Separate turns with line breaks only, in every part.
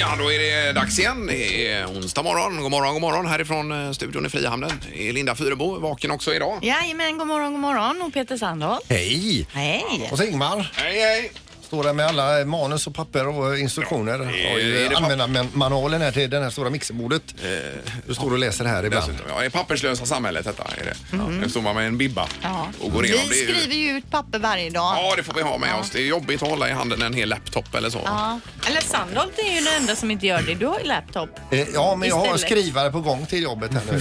eh, dags igen. Det är onsdag morgon. God morgon, god morgon härifrån eh, studion i Frihamnen. Det är Linda Fyrebo vaken också idag.
Jajamän, god morgon, god morgon och Peter Sandholt.
Hej!
Hej!
Och så Ingmar,
Hej, hej!
står där med alla eh, manus och papper och eh, instruktioner. Och
är det
ju
papp-
allmänna man- manualen här till det här stora mixerbordet. Du står och läser här ibland.
Eh, Dessutom, ja, det papperslösa samhället detta är det. Här står man med en bibba
Mhm. Ja.
och går
Vi
igenom. Det är ju-
skriver ju ut papper varje dag.
Ja, det får vi ha med oss. Det är jobbigt att hålla i handen en hel laptop eller så.
Ja. Eller Sandholt är ju den enda som inte gör det. Du har ju laptop.
Eh, Ja, men jag har en
Istället.
skrivare på gång till jobbet här nu.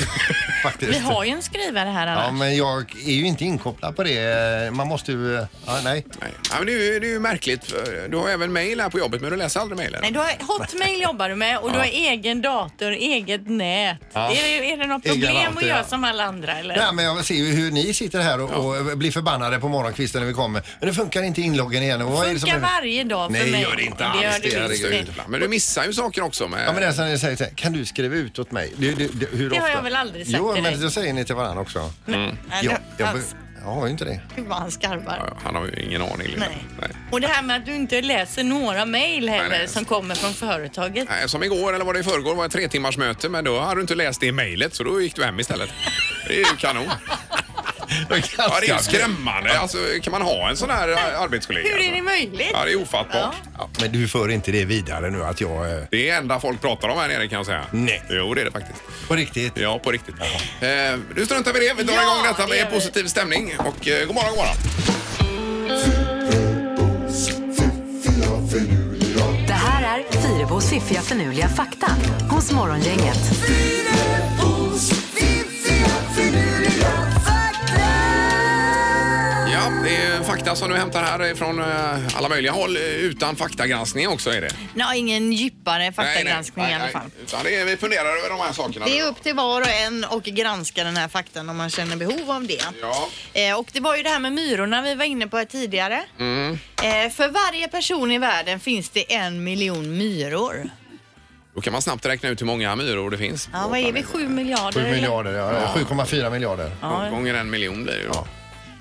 Faktiskt.
Vi har ju en skrivare här
Ja,
annars.
men jag är ju inte inkopplad på det. Man måste ju... eh, Ja, nej.
Nej. Ja, men det, är ju, det är ju märkligt. för Eh, Du har även mejl här på jobbet, men du läser aldrig mejlen.
Nej, du har Hotmail jobbar du med och du har egen dator, eget nät. Är, det, är det något
Egen
problem
dator,
att göra
ja.
som alla andra eller?
Nej, men jag ser ju hur ni sitter här och, och blir förbannade på morgonkvisten när vi kommer. Men det funkar inte inloggen igen. Och vad är det som
funkar
är-
varje dag för
Nej,
mig.
gör det inte
Det
alls.
gör
Det är
du visst
Det är ju
det.
inte bra. Men du missar ju saker också. Med...
Ja, men det är som ni säger så här, kan du skriva ut åt mig? Det, det, det, hur
Det har
ofta?
jag väl aldrig sagt
Jo,
till
men
dig.
det säger ni till varandra också.
Nej,
Jag,
det-
jag,
alltså,
jag har ju inte det.
Gud vad han skarvar.
Ja, Han har ju ingen aning. Linda.
Nej.
Nej.
Och det här med att du inte läser några mejl heller
Nej, nej.
som kommer från företaget.
Nej, som igår, eller var det i förrgår, var ett tre timmars möte men då hade du inte läst det i mejlet så då gick du hem istället. Det är ju kanon. Ja, det är ju skrämmande. Alltså, kan man ha en sån här eh, arbetskollega?
Hur är det
alltså?
möjligt?
Ja, det är ofattbart.
Ja, men du för inte det vidare nu att jag... eh,
Det är enda folk pratar om här nere kan jag säga.
Nej.
Jo, det är det faktiskt.
På riktigt.
Ja, på riktigt. Eh, nu struntar vi i det. Vi drar
Ja,
igång detta
det
med
gör vi.
positiv stämning. Och eh, god morgon, god morgon.
Det här är Fyrabos fiffiga förnuliga fakta hos Morgongänget.
Ja, det är fakta som du hämtar här från eh, alla möjliga håll. eh, Utan faktagranskning också är det.
Nej, ingen djupare
Nej, nej,
faktagranskning
nej,
i alla
nej.
fall.
Utan det är, vi funderar över de här sakerna.
Det är upp till var och en och granska den här faktan om man känner behov av det.
Ja.
Eh, och det var ju det här med myrorna vi var inne på här tidigare.
Mm.
Eh, för varje person i världen finns det en miljon myror.
Då kan man snabbt räkna ut hur många myror det finns.
Ja, vad är vi? Sju miljarder?
7
eller?
miljarder, ja. 7,4 miljarder.
Ja.
Gånger en miljon blir det ju då.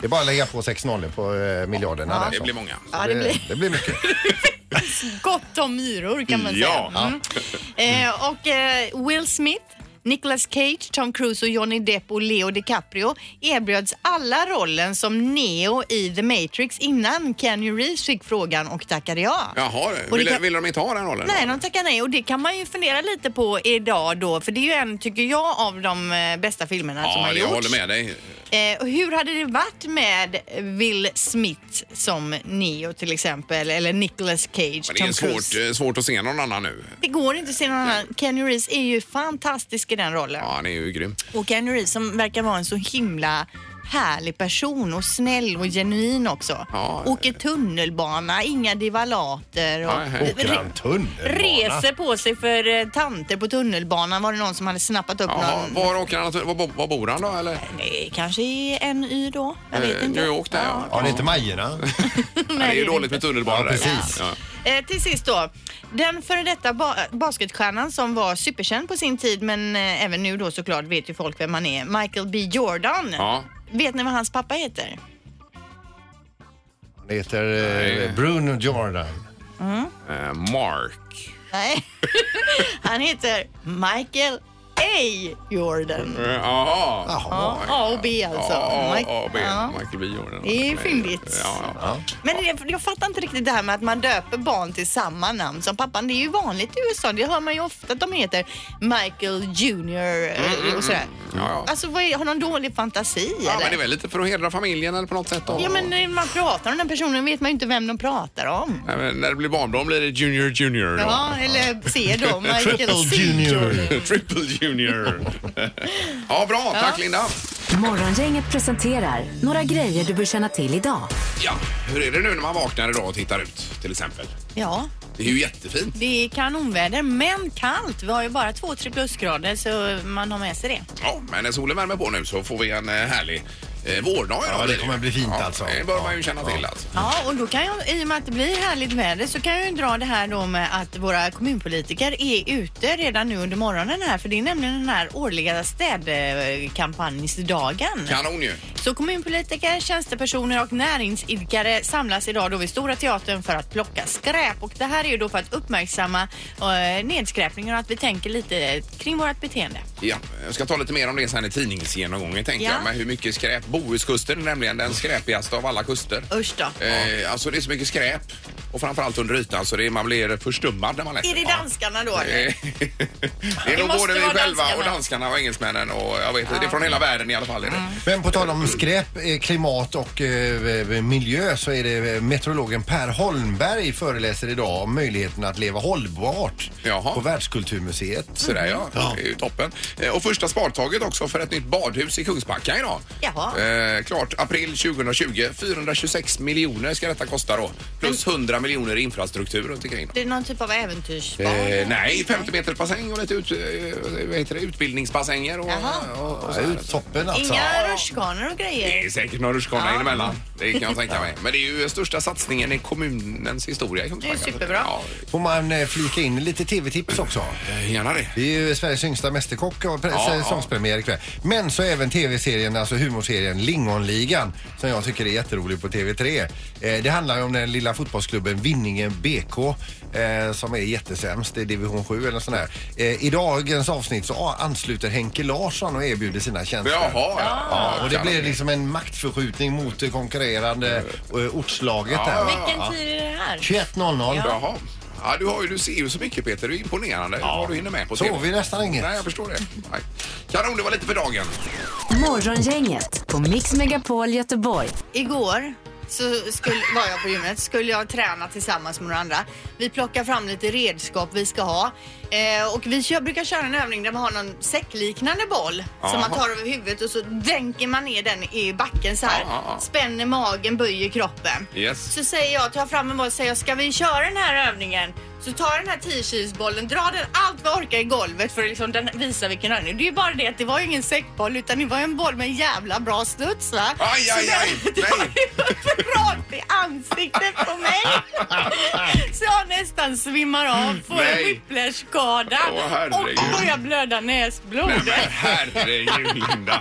Det är bara att lägga på sex nollor på eh, miljarderna. där,
Det
så.
blir många.
Ja, det blir
det blir mycket.
gott om myror kan man
Ja.
säga. Mm. Eh, och eh, Will Smith, Nicolas Cage, Tom Cruise och Johnny Depp och Leo DiCaprio erbjöds alla rollen som Neo i The Matrix innan Keanu Reeves fick frågan och tackade ja.
Jaha,
Och
ville,
det kan-
ville de inte ha den rollen?
Nej, de tackar nej och det kan man ju fundera lite på idag då för det är ju en, tycker jag, av de eh, bästa filmerna som
Ja,
har
det- jag
gjorts.
håller med dig.
Eh, och hur hade det varit med Will Smith som Neo till exempel eller Nicolas Cage,
Men det är
Tom
svårt,
Cruise?
eh, svårt att se någon annan nu.
Det går inte att se någon annan. Keanu Reeves är ju fantastisk i den rollen.
Ja, han är ju grym.
Och Keanu Reeves som verkar vara en så himla härlig person och snäll och genuin också.
Ja.
Åker tunnelbana, inga divalater och
Nej, nej.
Åker han
Eh,
tunnelbana?
reser på sig för eh, tanter på tunnelbanan var det någon som hade snappat upp
Jaha,
någon.
var åker han? Var, bo- var bor han då? Eller?
Eh, Kanske i en y då? Jag vet
Eh,
inte.
New York där ja.
Ja, det är inte Majerna.
Nej, det är ju dåligt med tunnelbana
Ja,
där.
precis.
Ja.
Eh, till sist då. Den före detta ba basketstjärnan som var superkänd på sin tid men eh, även nu då såklart vet ju folk vem han är. Michael B Jordan.
Ja.
Vet ni vad hans pappa heter?
Han heter eh, Bruno Jordan.
Eh, Mark.
Mm. Nej. han heter Michael A Jordan.
Eh, Jaha.
Ja, A och B alltså.
Ja,
Mike-
A och B.
Ja.
Michael B. Jordan.
Det är ju fyndigt.
Ja, ja.
Men det, jag fattar inte riktigt det här med att man döper barn till samma namn som pappan. Det är ju vanligt i USA. Det hör man ju ofta att de heter Michael Junior eh, och sådär.
Mm, ja, ja.
Alltså vad är, har de dålig fantasi
ja men
eller?
det är väl lite för att hedra familjen eller på något sätt. Då.
Ja men när man pratar om den personen vet man ju inte vem de pratar om.
Nej, men när det blir barnbarn blir det Junior Junior. Då.
Ja, eller ser då Michael C.
Triple Junior.
Triple Junior. ja, bra. Tack, Linda.
Morgongänget presenterar några grejer du bör känna till idag.
Ja, hur är det nu när man vaknar idag och tittar ut, till exempel?
Ja,
Det är ju jättefint.
det är kanonväder men kallt. Vi har ju bara 2-3 plusgrader så man har med sig det.
Ja, men när solen värmer på nu så får vi en eh, härlig eh, vårdag idag.
Ja, det
blir
kommer
ju.
bli fint alltså.
Det bör
Ja,
man ju känna till alltså.
Ja, och då kan jag, i och med att det blir härligt väder så kan jag ju dra det här då med att våra kommunpolitiker är ute redan nu under morgonen här för det är nämligen den här årliga städkampanjsdagen.
Kanon ju.
Så kommunpolitiker, tjänstepersoner och näringsidkare samlas idag då vid Stora Teatern för att plocka skräp. Och det här är ju då för att uppmärksamma eh, nedskräpningen och att vi tänker lite kring vårt beteende.
Ja, jag ska ta lite mer om det sen i tidningsgenomgången tänker
Ja.
jag. Men hur mycket skräp? Bohuskusten är nämligen den skräpigaste av alla kuster.
Usch då.
Eh, alltså det är så mycket skräp och framförallt under ytan så det är, man blir förstummad när man läser.
Är det
Ja.
danskarna då? eller?
Eh, det är nog
måste
både vi
vara
själva och
danskarna.
danskarna och engelsmännen och jag vet inte, det är från hela världen i alla fall. Är
Mm.
det.
Men på tal om skräp, eh, klimat och eh, miljö så är det eh, meteorologen Per Holmberg föreläser idag om möjligheten att leva hållbart
Jaha.
på Världskulturmuseet.
Sådär ja, det är ju toppen. Eh, Och första spartaget också för ett nytt badhus i Kungsbacka idag.
Jaha.
Eh, klart april 2020. 426 miljoner ska detta kosta då. Plus 100 miljoner i infrastruktur runt omkring. då.
Det är någon typ av äventyrsbad?
Eh, nej, 50 meter bassäng och lite ut, eh, vad heter det, utbildningsbassänger. Och,
Jaha.
och, och
Ja,
så här.
ut toppen alltså.
Inga rutschkanor och grejer?
det är säkert några rutschkana emellan. Det kan jag tänka mig. Men det är ju största satsningen i kommunens historia i Kungsbacka.
Det är superbra.
Ja,
Får man eh, flika in lite tv-tips också?
eh, gärna det.
Det är ju Sveriges yngsta mästerkock och pre-
Ja, ja.
säsongspremiär ikväll. Men så även tv-serien, alltså humorserien Lingonligan som jag tycker är jätterolig på TV3. Eh, det handlar ju om den lilla fotbollsklubben Vinningen BK eh, som är jättesämst i division 7 eller sån där. Eh, I dagens avsnitt så a- ansluter Henke Larsson och erbjuder sina tjänster.
Jaha, ja.
Ja, och det
kan-
blir liksom en maktförskjutning mot det konkurrerande eh, ortslaget
Ja,
där.
ja,
va?
Vilken tid är det här?
21.00.
Jaha. Ja, du, har ju, du ser ju så mycket Peter, det är imponerande vad du hinner med på
Sov
TV.
vi nästan inget.
Nej, jag förstår det. Nej. Kanon, det var lite för dagen.
Morgongänget på Mix Megapol Göteborg.
Igår så skulle, var jag på gymmet, skulle jag träna tillsammans med några andra. Vi plockar fram lite redskap vi ska ha. Eh, och vi kör, brukar köra en övning där man har någon säckliknande boll som man
Jaha.
tar över huvudet och så dränker man ner den i backen så här.
Ja, ja, ja.
Spänner magen, böjer kroppen.
Yes.
Så säger jag, tar fram en boll och säger ska vi köra den här övningen? Så tar jag den här 10 kilos bollen, drar den allt vad jag orkar i golvet för att liksom den visa vilken övning. Det är ju bara det att det var ju ingen säckboll utan det var ju en boll med en jävla bra studs va?
Aj, aj, aj! Nej!
rakt i ansiktet på mig. Så jag nästan svimmar av, får
Nej.
en whiplash-skada
Åh,
och
herregud.
börjar blöda näsblod.
Nej, men herregud, Linda.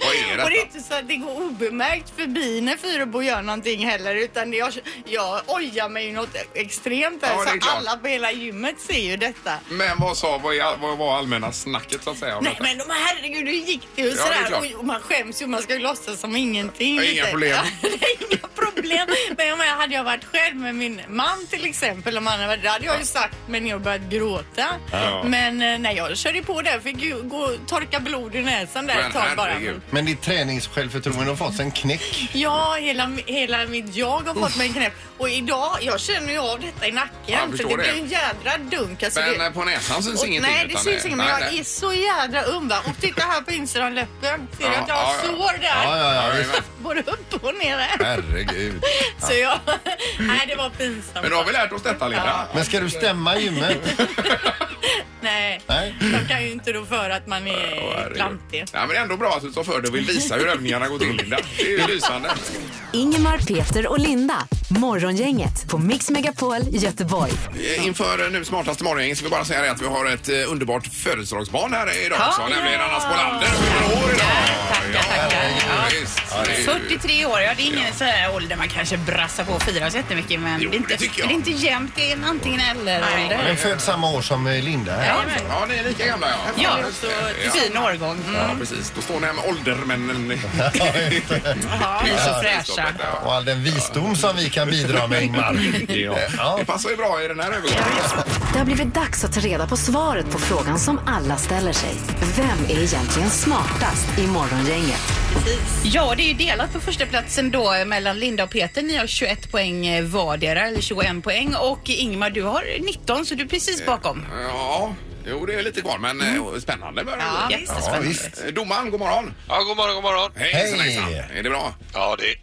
Vad är
Och det är
detta?
inte så att det går obemärkt förbi när Fyrebo gör någonting heller utan jag, jag ojar mig ju något extremt där
Ja, det är
så
klart.
alla på hela gymmet ser ju detta.
Men vad sa, vad, är, vad var allmänna snacket så att säga? om
Nej
detta?
men de här, herregud hur gick det? Och,
Ja, det är
sådär.
klart.
och, och man skäms ju, man ska ju låtsas som ingenting.
Ja, inga problem.
Ja, det är inga problem. Men jag menar, hade jag varit själv med min man till exempel, om han hade varit där, hade jag ju sagt men jag börjat gråta.
Ja.
Men eh, nej, jag körde på där, fick ju gå, torka blod i näsan där
Men
ett tag bara.
herregud.
Men ditt träningssjälvförtroende har fått en knäck.
Ja, hela, hela mitt jag har fått mig en knäpp. Och idag, jag känner ju av detta i
Ja, jag
nacken. för
förstår
det blir
det.
en jädra dunk. Alltså,
Men
det...
eh, på näsan syns
Och-
ingenting?
Nej, det
utan,
syns
eh,
inget. Men
nej,
jag
nej.
är så jädra ung. Va? Och titta här på insidan läppen. Ser du
Ja,
att jag har
ja, ja.
sår där?
Ja, ja, ja, visst.
Både upp och ner.
Herregud.
Så jag... Nej, det var pinsamt.
Men då har vi lärt oss detta, Linda.
Men ska du stämma gymmet?
Nej.
Nej.
Jag kan ju inte då för att man
Åh,
är
herregud.
klantig.
Ja, men det är ändå bra att du tar för dig och vill visa hur övningarna går till, Linda. Det är ju lysande.
Ingemar, Peter och Linda. Morgongänget på Mix Megapol Göteborg.
Eh, Inför eh, nu smartaste morgonen ska vi bara säga det att vi har ett eh, underbart födelsedagsbarn här idag också,
Ja.
nämligen Anna Spolander. Hon år idag!
Tackar, tackar.
Ja, visst. Det är ju-
43 år, ja det är ingen så här ålder man kanske brassar på och firar så jättemycket men
Jo,
det, är
det
inte,
tycker jag.
det är inte jämnt, det är en antingen eller
Nej.
ålder.
Men född samma år som eh, Linda här.
Jajamän.
Ja, ni är lika gamla ja.
Ja,
just
så
det.
till
Ja.
fin årgång.
Ja,
Mm.
precis. Då står ni här med åldermännen.
Ja, ni är så fräscha.
Ja.
Och all den visdom som vi kan bidra med Ingmar.
Det passar ju bra i den här övergången.
Det har blivit dags att ta reda på svaret på frågan som alla ställer sig. Vem är egentligen smartast i Morgongänget?
Ja, det är ju delat på första platsen då eh, mellan Linda och Peter. Ni har 21 poäng eh, vardera, eller 21 poäng. Och Ingmar, du har 19 så du är precis bakom.
Ja, jo det är lite kvar men eh, spännande börjar det
Mm. Ja,
bli.
Ja,
jättespännande.
visst.
Eh, Domaren, god morgon.
Ja, god morgon, god morgon.
Hej,
Hej.
hejsan, hejsan. Är det bra?
Ja, det...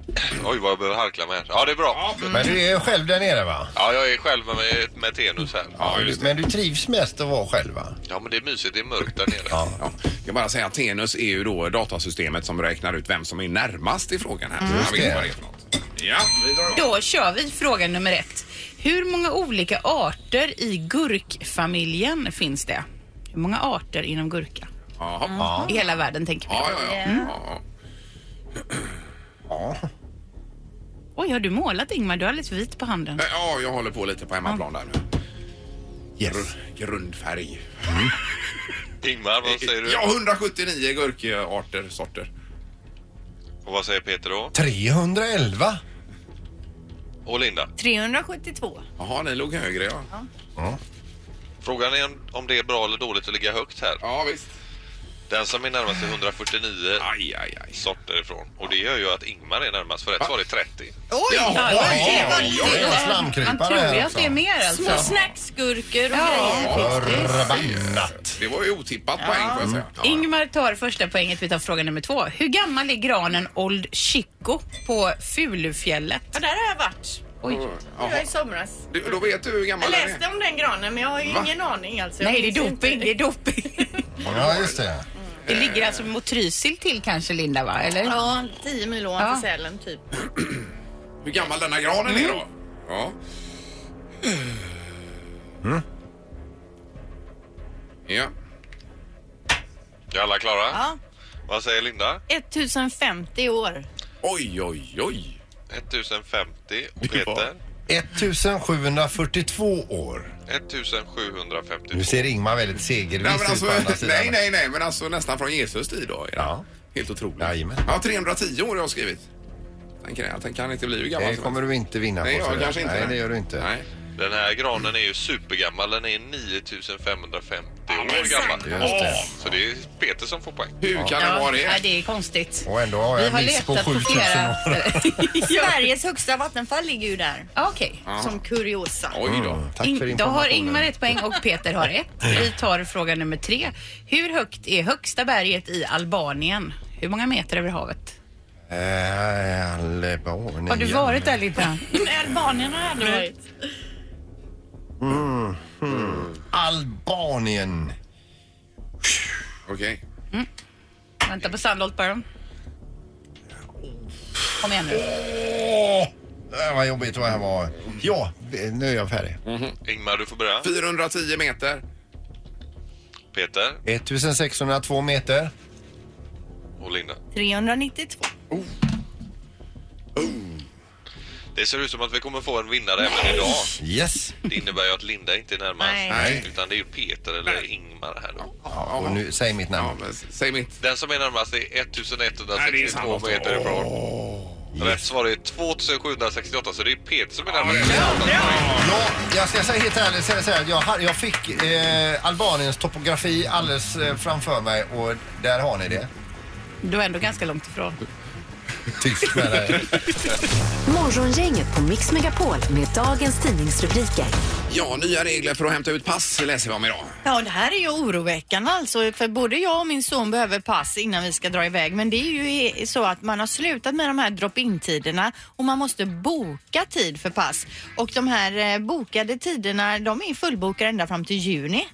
Oj, vad jag behöver harkla mig här. Ja, det är bra.
Ja, för...
Men du är själv där nere va?
Ja, jag är själv med, med Tenus här.
ja just det.
Men du trivs mest att vara själv va?
Ja, men det är mysigt. Det är mörkt där nere.
Ja.
Ja, jag ska bara säga att Tenus är ju då datasystemet som räknar ut vem som är närmast i frågan här. Mm.
det.
Vad det är för något. Ja, vi drar igång.
Då kör vi fråga nummer ett. Hur många olika arter i gurkfamiljen finns det? Hur många arter inom gurka?
Jaha.
Mm. I hela världen tänker vi.
Ja, ja, ja. ja.
Ja.
Oj, har du målat Ingmar? Du har lite vit på handen.
Eh, Ja, jag håller på lite på hemmaplan där nu.
Yes. Mm.
Gr- Grundfärg.
Ingmar, vad säger du?
Ja, 179 gurkarter, sorter.
Och vad säger Peter då?
311.
Och Linda?
372.
Jaha, ni låg högre ja.
Frågan är om- om det är bra eller dåligt att ligga högt här.
Ja, visst.
Den som är närmast är 149
Aj, aj, aj.
sorter ifrån. Och det gör ju att Ingmar är närmast, för rätt svar är 30.
Oj!
Ja,
det var
oj, oj, oj,
Man
slamkrypare
tror ju
här
att det är
också.
mer
Små
alltså.
snacksgurkor och grejer.
Förbannat.
Det var ju otippat poäng får jag säga.
Mm.
Ingmar tar första poänget. Vi tar fråga nummer två. Hur gammal är granen Old Chico på Fulufjället?
Ja, där har jag varit. Alltså, Det var i somras.
Du, då vet du hur gammal
Jag
den är.
läste om den granen men jag har ju ingen aning alltså. Jag
Nej, det är
minns
doping.
inte.
Det är doping.
Ja, just det.
Det ligger alltså mot Trysil till kanske, Linda, va? Eller?
Ja, 10 mil ovanför
Ja.
Sälen typ.
Hur gammal denna granen är
Mm.
då? Ja. Mm. Ja.
Är alla klara?
Ja.
Vad säger Linda?
1050 år.
Oj, oj, oj.
1050 och
Det var-
Peter
1742 år.
1752.
Nu ser Ingmar väldigt
Nej,
segervis
men
ut
alltså,
på andra sidan.
nej, nej, nej, men alltså nästan från Jesus tid då. Är det?
Ja.
Helt otroligt.
Jajamän.
Ja, 310 år har jag skrivit. Tänker jag, tänker han inte bli hur gammal
Det kommer du inte vinna
Nej,
på.
jag
sådär.
kanske inte.
Nej, det gör du inte.
Nej.
Den här granen är ju supergammal. Den är 9550 år
exakt.
gammal.
Just det.
Åh, Så det är Peter som får poäng.
Hur kan det vara
nej,
det?
det är konstigt.
Och ändå har
Vi
jag
har
en miss på
letat på
7000 år.
flera... Ja,
Sveriges högsta vattenfall ligger ju där.
Ah, Okej.
Som kuriosa.
Oj då.
Mm, Tack för
In, då har
informationen.
Ingmar ett poäng och Peter har ett. Vi tar fråga nummer tre. Hur högt är högsta berget i Albanien? Hur många meter över havet?
Eh, Albanien.
Har du varit där Linda?
Albanien har jag aldrig varit.
Mm-hmm. Albanien.
Okej.
Vänta på Sandholt bara. Kom igen nu.
Åh! Äh, vad jobbigt vad det här var. Ja, nu är jag färdig.
Mhm.
Ingmar, du får börja.
410 meter.
Peter
1602 meter.
och Linda.
392.
Det ser ut som att vi kommer få en vinnare även idag.
Yes.
Det innebär ju att Linda inte är närmast.
Nej.
Nej.
Utan det är ju Peter eller Ingmar här då.
Ja, och nu, säg mitt
Ja,
namn.
men säg mitt.
Den som är närmast är
Nej, det är
1162
sant.
meter ifrån. Rätt svar är 2768 så det är Peter som är närmast.
Ja, jag ska säga helt ärligt säga, säga, att jag, har- jag fick eh, Albaniens topografi alldeles eh, framför mig och där har ni det.
Du är ändå ganska långt ifrån.
Tyst med dig.
Morgongänget på Mix Megapol med dagens tidningsrubriker.
Ja, nya regler för att hämta ut pass läser vi om idag.
Ja, det här är ju oroväckande alltså. För både jag och min son behöver pass innan vi ska dra iväg. Men det är ju he- så att man har slutat med de här drop-in tiderna och man måste boka tid för pass. Och de här eh, bokade tiderna, de är fullbokade ända fram till juni.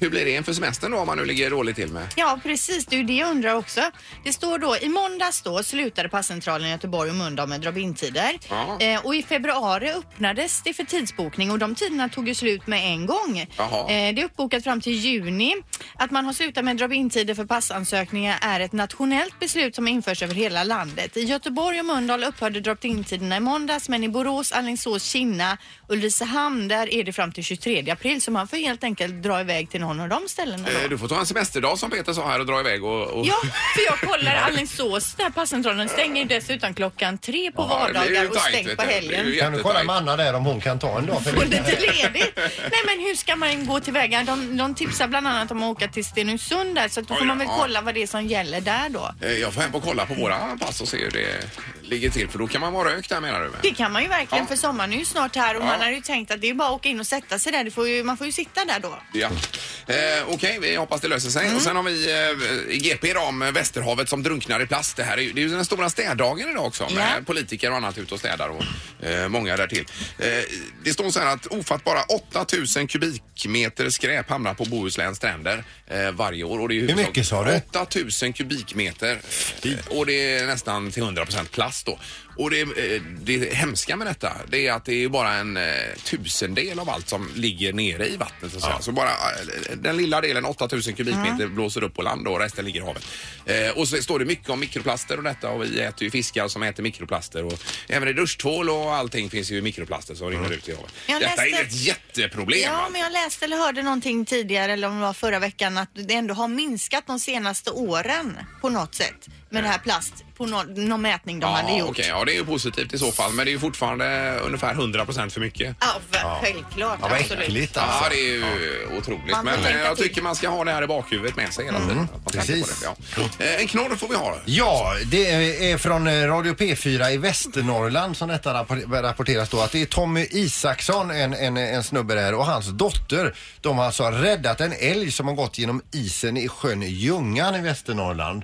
Hur blir det inför semestern då om man nu ligger dåligt till med?
Ja, precis. Det är ju det jag undrar också. Det står då, i måndags då slutade passcentralen i Göteborg och Mölndal med drop-in-tider.
Ja.
Eh, och i februari öppnades det för tidsbokning och de tiderna tog ju slut med en gång.
Jaha.
Eh, det är uppbokat fram till juni. Att man har slutat med drop-in-tider för passansökningar är ett nationellt beslut som införs över hela landet. I Göteborg och Mölndal upphörde drop-in-tiderna i måndags men i Borås, Alingsås, Kinna, Ulricehamn där är det fram till 23 april så man får helt enkelt dra iväg till någon av de ställena. då.
Eh, Du får ta en semesterdag som Peter sa här och dra iväg och... och...
Ja, för jag kollar Alingsås, där passcentralen stänger ju dessutom klockan tre på
Ja, det blir ju
vardagar och
tajt,
stängt
vet
på
du. Det blir
helgen.
ju
Kan du kolla
jättetajt.
med Anna där om hon kan ta en dag för
Och
det?
lite ledigt. Nej men hur ska man gå tillväga? De, de tipsar bland annat om att åka till Stenungsund där så att då
Oj
får
då,
man väl
ja.
kolla vad det är som gäller där då.
Eh, Jag får hem och kolla på våra pass och se hur det ligger till för då kan man vara rökt där menar du? Med.
Det kan man ju verkligen
Ja.
för sommaren är ju snart här och
Ja.
man hade ju tänkt att det är bara att åka in och sätta sig där. Det får ju, man får ju sitta där då.
Ja. Eh, Okej, vi hoppas det löser sig. Och sen har vi eh, i GP idag om Västerhavet som drunknar i plast. Det, här är, ju- det är ju den stora städdagen idag också med
Ja.
politiker och annat ute och städar och eh, många där till. Eh, det står så här att ofattbara 8000 kubikmeter skräp hamnar på Bohusläns stränder eh, varje år. Och det är i huvudsak
mycket sa du?
8000 kubikmeter. Eh, och det är nästan till 100 procent plast. plast då. Och det, eh, det hemska med detta det är att det är bara en eh, tusendel av allt som ligger nere i vattnet. Så, att säga. så bara eh, den lilla delen, 8000 kubikmeter,
Mm.
blåser upp på land och resten ligger i havet. Eh, och så står det mycket om mikroplaster och detta och vi äter ju fiskar som äter mikroplaster och även i duschtvål och allting finns ju mikroplaster som rinner ut i havet.
Jag
Detta är
läste-
ett jätteproblem.
Ja,
alltså.
men jag läste eller hörde någonting tidigare eller om det var förra veckan att det ändå har minskat de senaste åren på något sätt med det här plast på nå- någon mätning de hade gjort.
okej. ja, det är ju positivt i så fall, men det är ju fortfarande ungefär 100% för mycket.
Ja, för, självklart.
Ja, vad
absolut.
äckligt
Ja,
alltså.
det är ju otroligt.
Man får
men
tänka
eh, jag
till.
tycker man ska ha det här i bakhuvudet med sig hela tiden. Att man tänker
Mm, Precis.
på det, ja. Eh, En knorr får vi ha.
Ja, det är från eh, Radio P4 i Västernorrland som detta rappor- rapporteras då att det är Tommy Isaksson, en, en, en snubbe där, och hans dotter. De har alltså räddat en älg som har gått genom isen i sjön Ljungan i Västernorrland.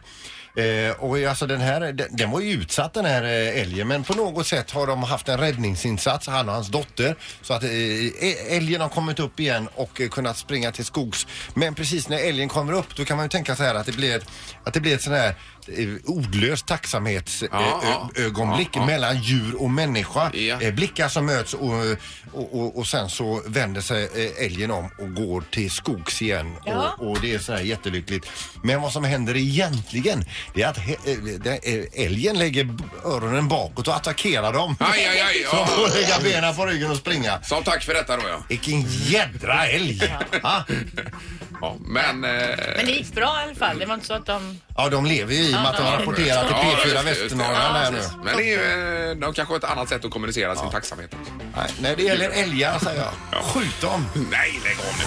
Eh, och alltså den här, den, den var ju utsatt den här eh, älgen men på något sätt har de haft en räddningsinsats, han och hans dotter. Så att eh, ä- älgen har kommit upp igen och eh, kunnat springa till skogs. Men precis när älgen kommer upp då kan man ju tänka så här att det blir ett, att det blir ett sån här eh, ordlöst
Ja, ja.
tacksamhetsögonblick
Ja, ja.
mellan djur och människa.
Ja.
Eh, Blickar som möts och, och, och, och sen så vänder sig eh, älgen om och går till skogs igen. Och, och det är så här jättelyckligt. Men vad som händer egentligen det är att he- eh, det- eh, älgen lägger b- öronen bakåt och attackerar dem.
Aj, aj, aj.
Så de
Ja.
får lägga benen på ryggen och springa.
Som tack för detta då, ja.
Vilken jädra älg! Ja.
ja men... eh,
Men det gick bra i alla fall. Det var inte så att de...
ja, de lever ju i och med att de har rapporterat till
ja, just det,
P4
just det.
Västernorrland här nu.
precis. Men det är ju eh, de kanske har ett annat sätt att kommunicera sin tacksamhet.
Nej, När det gäller älgar säger jag, Alltså, skjut dem!
Nej, lägg av nu.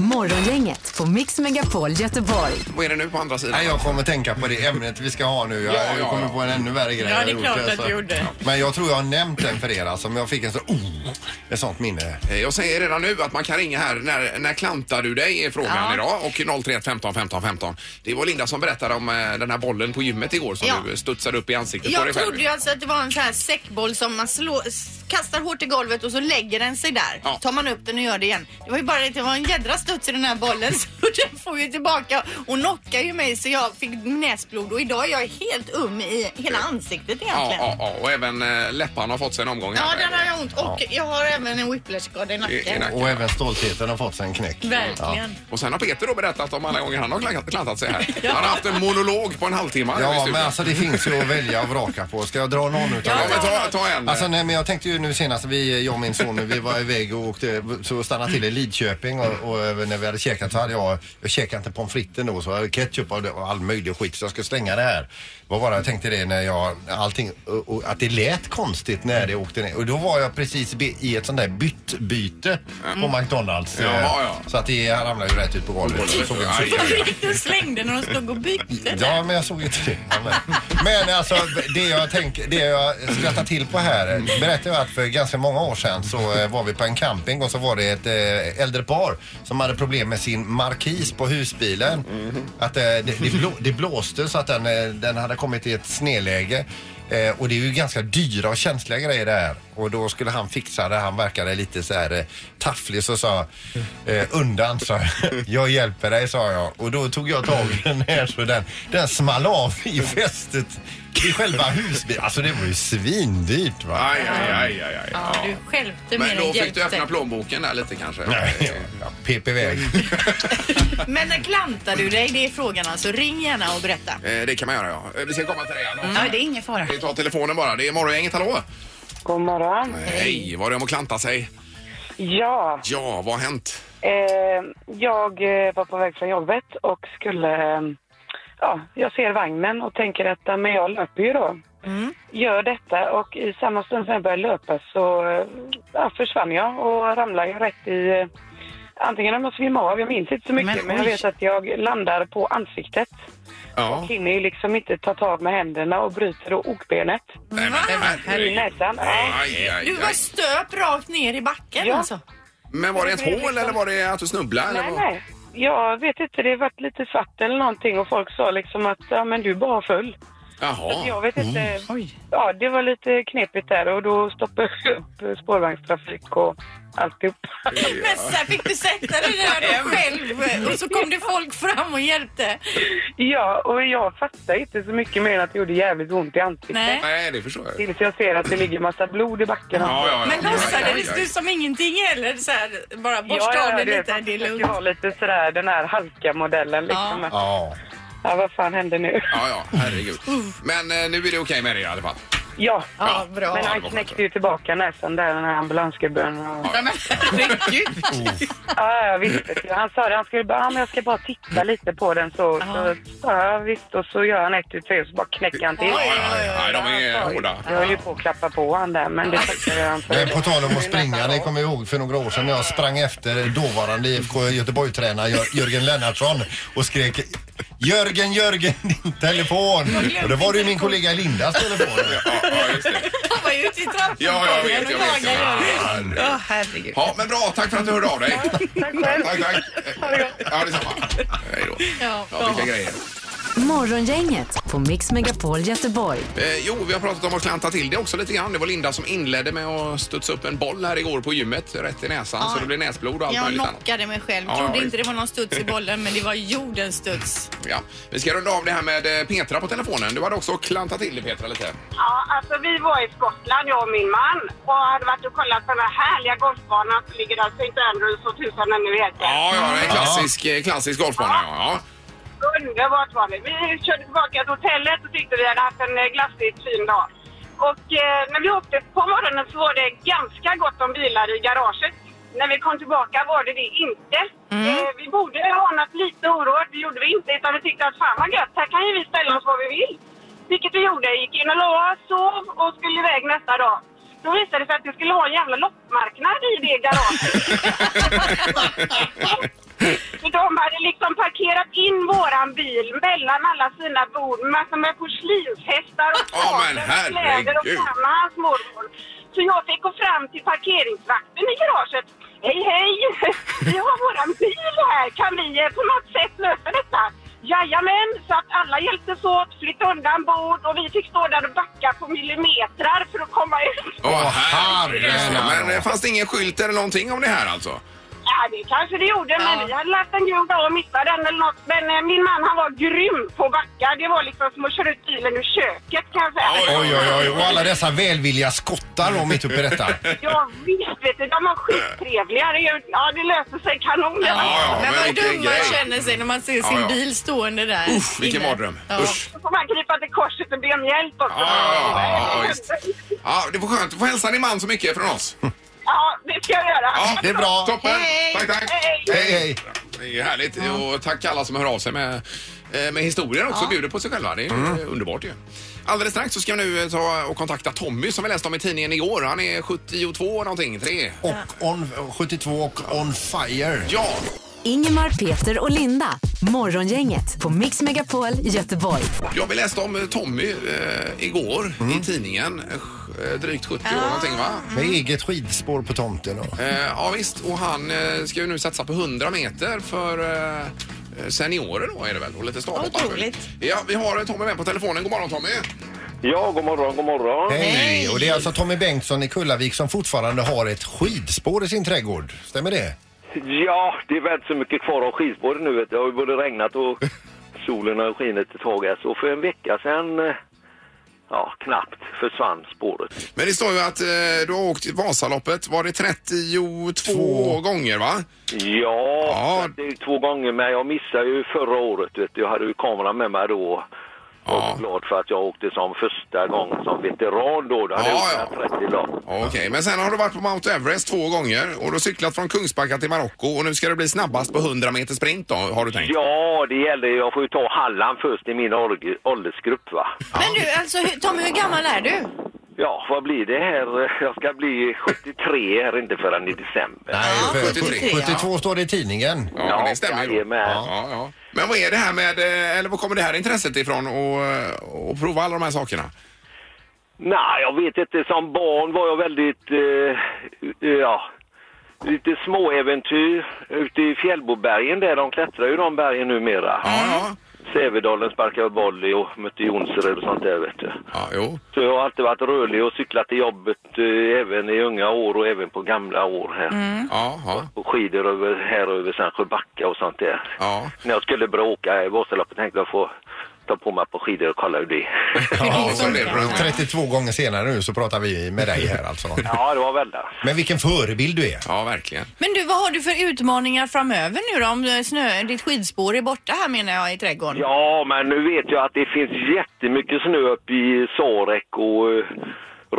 Morgongänget på Mix Megapol Göteborg.
Vad är det nu på andra sidan?
Nej, jag kommer tänka på det ämnet vi ska ha nu. Jag,
Ja, ja,
jag kommer
ja.
på en ännu värre grej.
Ja, det är
jag
klart
gjort,
att du gjorde.
Ja. Men jag tror jag har nämnt den för er alltså, men jag fick en sån, oh, ett sånt minne.
Eh, Jag säger redan nu att man kan ringa här. När, när klantar du dig? är frågan idag. Och 031 15 15 15. Det var Linda som berättade om eh, den här bollen på gymmet igår som
Ja.
du studsade upp i ansiktet på dig
Jag
själv.
trodde ju alltså att det var en sån här säckboll som man slår, s- kastar hårt i golvet och så lägger den sig där.
Ja.
Tar man upp den och gör det igen. Det var ju bara det att det var en jädra studs i den här bollen så den får ju tillbaka och knockar ju mig så jag fick näsblod och idag är jag helt um i hela ansiktet
Ja,
egentligen.
ja,
Ja,
ja, och även eh, läpparna har fått sig en omgång här.
där har jag ont och jag har även en whiplash-skada i
I- i
nacken.
nacken.
Och även stoltheten har fått sig en knäck.
Verkligen.
Och sen har Peter då berättat om alla gånger han har klantat, klantat sig här. Han har haft en monolog på en halvtimme. här i
Ja,
studion.
men alltså det finns ju att välja och vraka på. Ska jag dra någon utav
Ja,
dem?
men ta, ta en.
Alltså nej, men jag tänkte ju nu senast, vi, jag och min son, vi var iväg och åkte, så stannade till i Lidköping och, och när vi hade käkat så hade jag, jag käkade inte pommes fritesen då så jag hade ketchup och det- och all möjlig skit så jag skulle slänga det här. Vad var det jag tänkte det när jag, allting, och, och, att det lät konstigt när det åkte ner. Och då var jag precis be- i ett sånt där byttbyte på McDonalds.
Jaha,
eh,
Mm. ja.
Så att det ramlade ju rätt ut på golvet. Så såg jag-
Aj, aj, aj.
Du slängde när de stod och byggde.
Ja, men jag såg inte det. Ja, men- Men alltså, det jag, tänk, det jag skrattar till på här eh, berättar jag att för ganska många år sedan så eh, var vi på en camping och så var det ett eh, äldre par som hade problem med sin markis på husbilen. Att eh, det, det, blå, det blåste så att den, eh, den hade kommit i ett snedläge. Eh, och det är ju ganska dyra och känsliga grejer det här. Och då skulle han fixa det. Han verkade lite så här eh, tafflig så sa eh, undan sa jag. jag hjälper dig sa jag. Och då tog jag tag i den här så den, den small av i fästet i själva husbilen. Alltså det var ju svindyrt va.
Aj, aj, aj, aj, aj.
Ja,
Ja.
du stjälpte mer
Men
än
då fick du öppna
hjälpte.
plånboken där lite kanske.
Nej, ja, pep iväg.
Men när klantar du dig? Det är frågan alltså. Ring gärna och berätta.
Eh, Det kan man göra, ja. Eh, Vi ska komma till dig, Anna.
Ja, Mm. det är ingen fara.
Vi tar telefonen bara. Det är morgongänget, hallå?
God morgon.
Hej, var det om att klanta sig?
Ja,
Ja, vad har hänt?
eh, jag eh, var på väg från jobbet och skulle... Eh, ja, jag ser vagnen och tänker att ja, men jag löper ju då.
Mm.
Gör detta och i samma stund som jag började löpa så eh, ja, försvann jag och ramlade ju rätt i... Eh, antingen om jag svimmade av, jag minns inte så mycket,
Men
men, jag
oj.
vet att jag landar på ansiktet.
Ja.
Hinner ju liksom inte ta tag med händerna och bryter då okbenet
Nej, men,
i
herregud.
näsan.
Aj,
Ja.
aj, aj.
Du var stöp rakt ner i backen
Ja.
alltså.
Men var det ett hål eller var det att du snubblade? eller
liksom- Nej,
vad?
nej. Jag vet inte, det har varit lite svart eller någonting och folk sa liksom att ja, men du bara föll. Så att
Jaha. Mm.
jag vet inte. Ja, det var lite knepigt där och då stoppade jag upp spårvagnstrafik och alltihop.
Men så här fick du sätta dig där då
eh,
själv och så kom det folk fram och hjälpte.
Ja, och jag fattade inte så mycket mer än att det gjorde jävligt ont i ansiktet.
Nej.
Nej, det förstår jag.
Tills jag ser att det ligger massa blod i backen.
Ja, ja, ja.
Men
Ja, ja,
låtsades
ja,
du
ja.
som ingenting eller så här, bara borsta av dig lite, det är
Jag
lugnt.
har lite sådär den här halka-modellen liksom. Ja.
Ja.
ja, vad fan hände nu?
Ja, ja, herregud. Men eh, nu är det okej med det i alla fall.
Ja,
Ja, bra.
men han knäckte ju tillbaka näsan där, den här ambulansgubben. Och...
Nej, men herregud.
Ja, jag visste. Han sa det, han skulle bara, ja, men jag ska bara titta lite på den så. så sa jag, ja, visst, och så gör han ett, tu, tre och så bara knäcker han till.
Ja, ja, ja. Nej, de är hårda.
Jag höll ju på att klappa på han där, men det tackade jag för.
Men på tal om att springa, ni kommer ihåg för några år sedan när jag sprang efter dåvarande IFK Göteborg-tränare Jör- Jörgen Lennartsson och skrek Jörgen, Jörgen, din telefon! Och det var det ju min kollega Lindas telefon.
Ja, ja, just det.
Han var ju ute i trappan.
Ja, jag vet, jag vet.
Ja, herregud.
Ja, men bra. Tack för att du hörde av dig.
Tack själv.
Tack, tack. Ja, detsamma. Hej då.
Ja.
Ja, vilka grejer.
Morgongänget på Mix Megapol Göteborg.
Eh, jo, vi har pratat om att klanta till det också lite grann. Det var Linda som inledde med att studsa upp en boll här igår på gymmet, rätt i näsan, så det blev näsblod och allt
Jag
möjligt annat.
knockade mig själv.
Ja,
Trodde
ja,
inte det var någon studs i bollen men det var jordens studs.
Ja. Vi ska runda av det här med eh, Petra på telefonen. Du hade också klantat till det, Petra, lite.
Ja, alltså vi var i Skottland, jag och min man, och hade varit och kollat på den här härliga golfbanan som ligger där, St. Andrews och tusan den nu heter.
Ja, ja, det är en klassisk, eh, klassisk golfbana. Ja,
Underbart var det. Vi körde tillbaka till hotellet och tyckte vi hade haft en eh, glassigt fin dag. Och eh, när vi åkte på morgonen så var det ganska gott om bilar i garaget. När vi kom tillbaka var det det inte. Eh, vi borde ha anat lite oråd, det gjorde vi inte, utan vi tyckte att fan vad gött, här kan ju vi ställa oss var vi vill. Vilket vi gjorde, gick in och la oss, sov och skulle iväg nästa dag. Då visade det sig att vi skulle ha en jävla loppmarknad i det garaget. För de hade liksom parkerat in våran bil mellan alla sina bord med massor med porslinshästar och
Ja, men
saker och kläder och
herregud.
samma hans mormor. Så jag fick gå fram till parkeringsvakten i garaget. Hej, hej! Vi har våran bil här. Kan vi eh, på något sätt lösa detta? Jajamän, så att alla hjälptes åt, flytta undan bord och vi fick stå där och backa på millimetrar för att komma ut.
ja. Åh, herregud.
herregud.
Men det fanns det ingen skylt eller någonting om det här alltså?
Ja, det kanske det gjorde, men
Ja.
vi hade lagt en grov dag och missat den eller något. Men eh, min man han var grym på att backa. Det var liksom som att köra ut bilen ur köket kan jag säga.
Oj, oj, oj. Och alla dessa välvilliga skottar då mitt uppe i detta.
Ja, visst vet du, de var skittrevliga. Det, är ju- ja, det löste sig kanon.
Ja, ja,
Men vad
vilken
dum man
grej.
känner sig när man ser
Ja,
sin
ja.
bil stående där.
Usch, vilken
inne.
mardröm.
Ja.
Usch.
Då får man krypa till korset och be om hjälp också.
Ja, ja, ja, ja, visst. Ja, det var skönt. Du får hälsa din man så mycket från oss.
Ja, det ska jag göra.
Ja,
Det är bra.
Toppen.
Hej.
Tack, tack.
Hej.
Hej, hej.
Det är härligt. Och tack alla som hör av sig med, eh, med historier också och bjuder på sig själva. Det är
Mm.
eh, underbart ju. Alldeles strax så ska vi nu eh, ta och kontakta Tommy som vi läste om i tidningen igår. Han är 72 någonting, 3.
Och on, 72 och on fire.
Ja,
Ingemar, Peter och Linda. Morgongänget på Mix Megapol Göteborg.
ja, vi läste om eh, Tommy eh, igår
Mm.
i tidningen. Eh, Drygt 70
Ah.
år någonting va?
Med eget skidspår på tomten. Och.
Eh, ja visst, och han eh, ska ju nu satsa på 100 meter för eh, seniorer då är det väl? Och lite stavhopp.
Otroligt.
Ja, vi har eh, Tommy med på telefonen. God morgon Tommy!
Ja, god morgon, god morgon.
Hej! Och det är alltså Tommy Bengtsson i Kullavik som fortfarande har ett skidspår i sin trädgård. Stämmer det?
Ja, det är väl inte så mycket kvar av skidspåret nu. Vet du. Det har ju både regnat och solen har skinit ett tag. här. Så för en vecka sedan, eh, ja, knappt försvann spåret.
Men det står ju att eh, du har åkt Vasaloppet, var det 32 gånger va?
Ja,
Ja.
det är ju två gånger, men jag missade ju förra året. Vet du. Jag hade ju kameran med mig då. Och
Ja.
glad för att jag åkte som första gången som veteran då. Då hade
Ja,
jag
ja.
åkt 30 dagar.
Ja, Okej, men sen har du varit på Mount Everest två gånger och du har cyklat från Kungsbacka till Marocko och nu ska du bli snabbast på 100 meter sprint då, har du tänkt?
Ja, det gäller ju. Jag får ju ta Halland först i min ålder- åldersgrupp va.
Men du, alltså hur- Tommy, hur gammal är du?
Ja, vad blir det här? Jag ska bli 73 här inte förrän i december.
Nej, för-
73,
72 står det i tidningen.
Ja, det stämmer ju.
jajamän.
Ja, ja. Men vad är det här med, eh, eller var kommer det här intresset ifrån och, eh, och prova alla de här sakerna?
Nej, jag vet inte. Som barn var jag väldigt, eh, ja, lite småäventyr ute i Fjällbobergen där. De klättrar ju de bergen numera.
Ja, ja.
Sävedalen sparkade volley och mötte Jonsered och sånt där vet du.
Ja, jo.
Så jag har alltid varit rörlig och cyklat till jobbet eh, även i unga år och även på gamla år här.
Mm. Ja, ja.
Och skidor över, här över Sandsjöbacka och sånt där.
Ja.
När jag skulle börja åka i Vasaloppet tänkte jag få ta på mig på skidor och kolla hur det är.
Ja, så det är 32 gånger senare nu så pratar vi med dig här alltså.
Ja, det var väl det.
Men vilken förebild du är.
Ja, verkligen.
Men du, vad har du för utmaningar framöver nu då? Om eh, snö, ditt skidspår är borta här menar jag i trädgården.
Ja, men nu vet jag att det finns jättemycket snö uppe i Sarek och eh,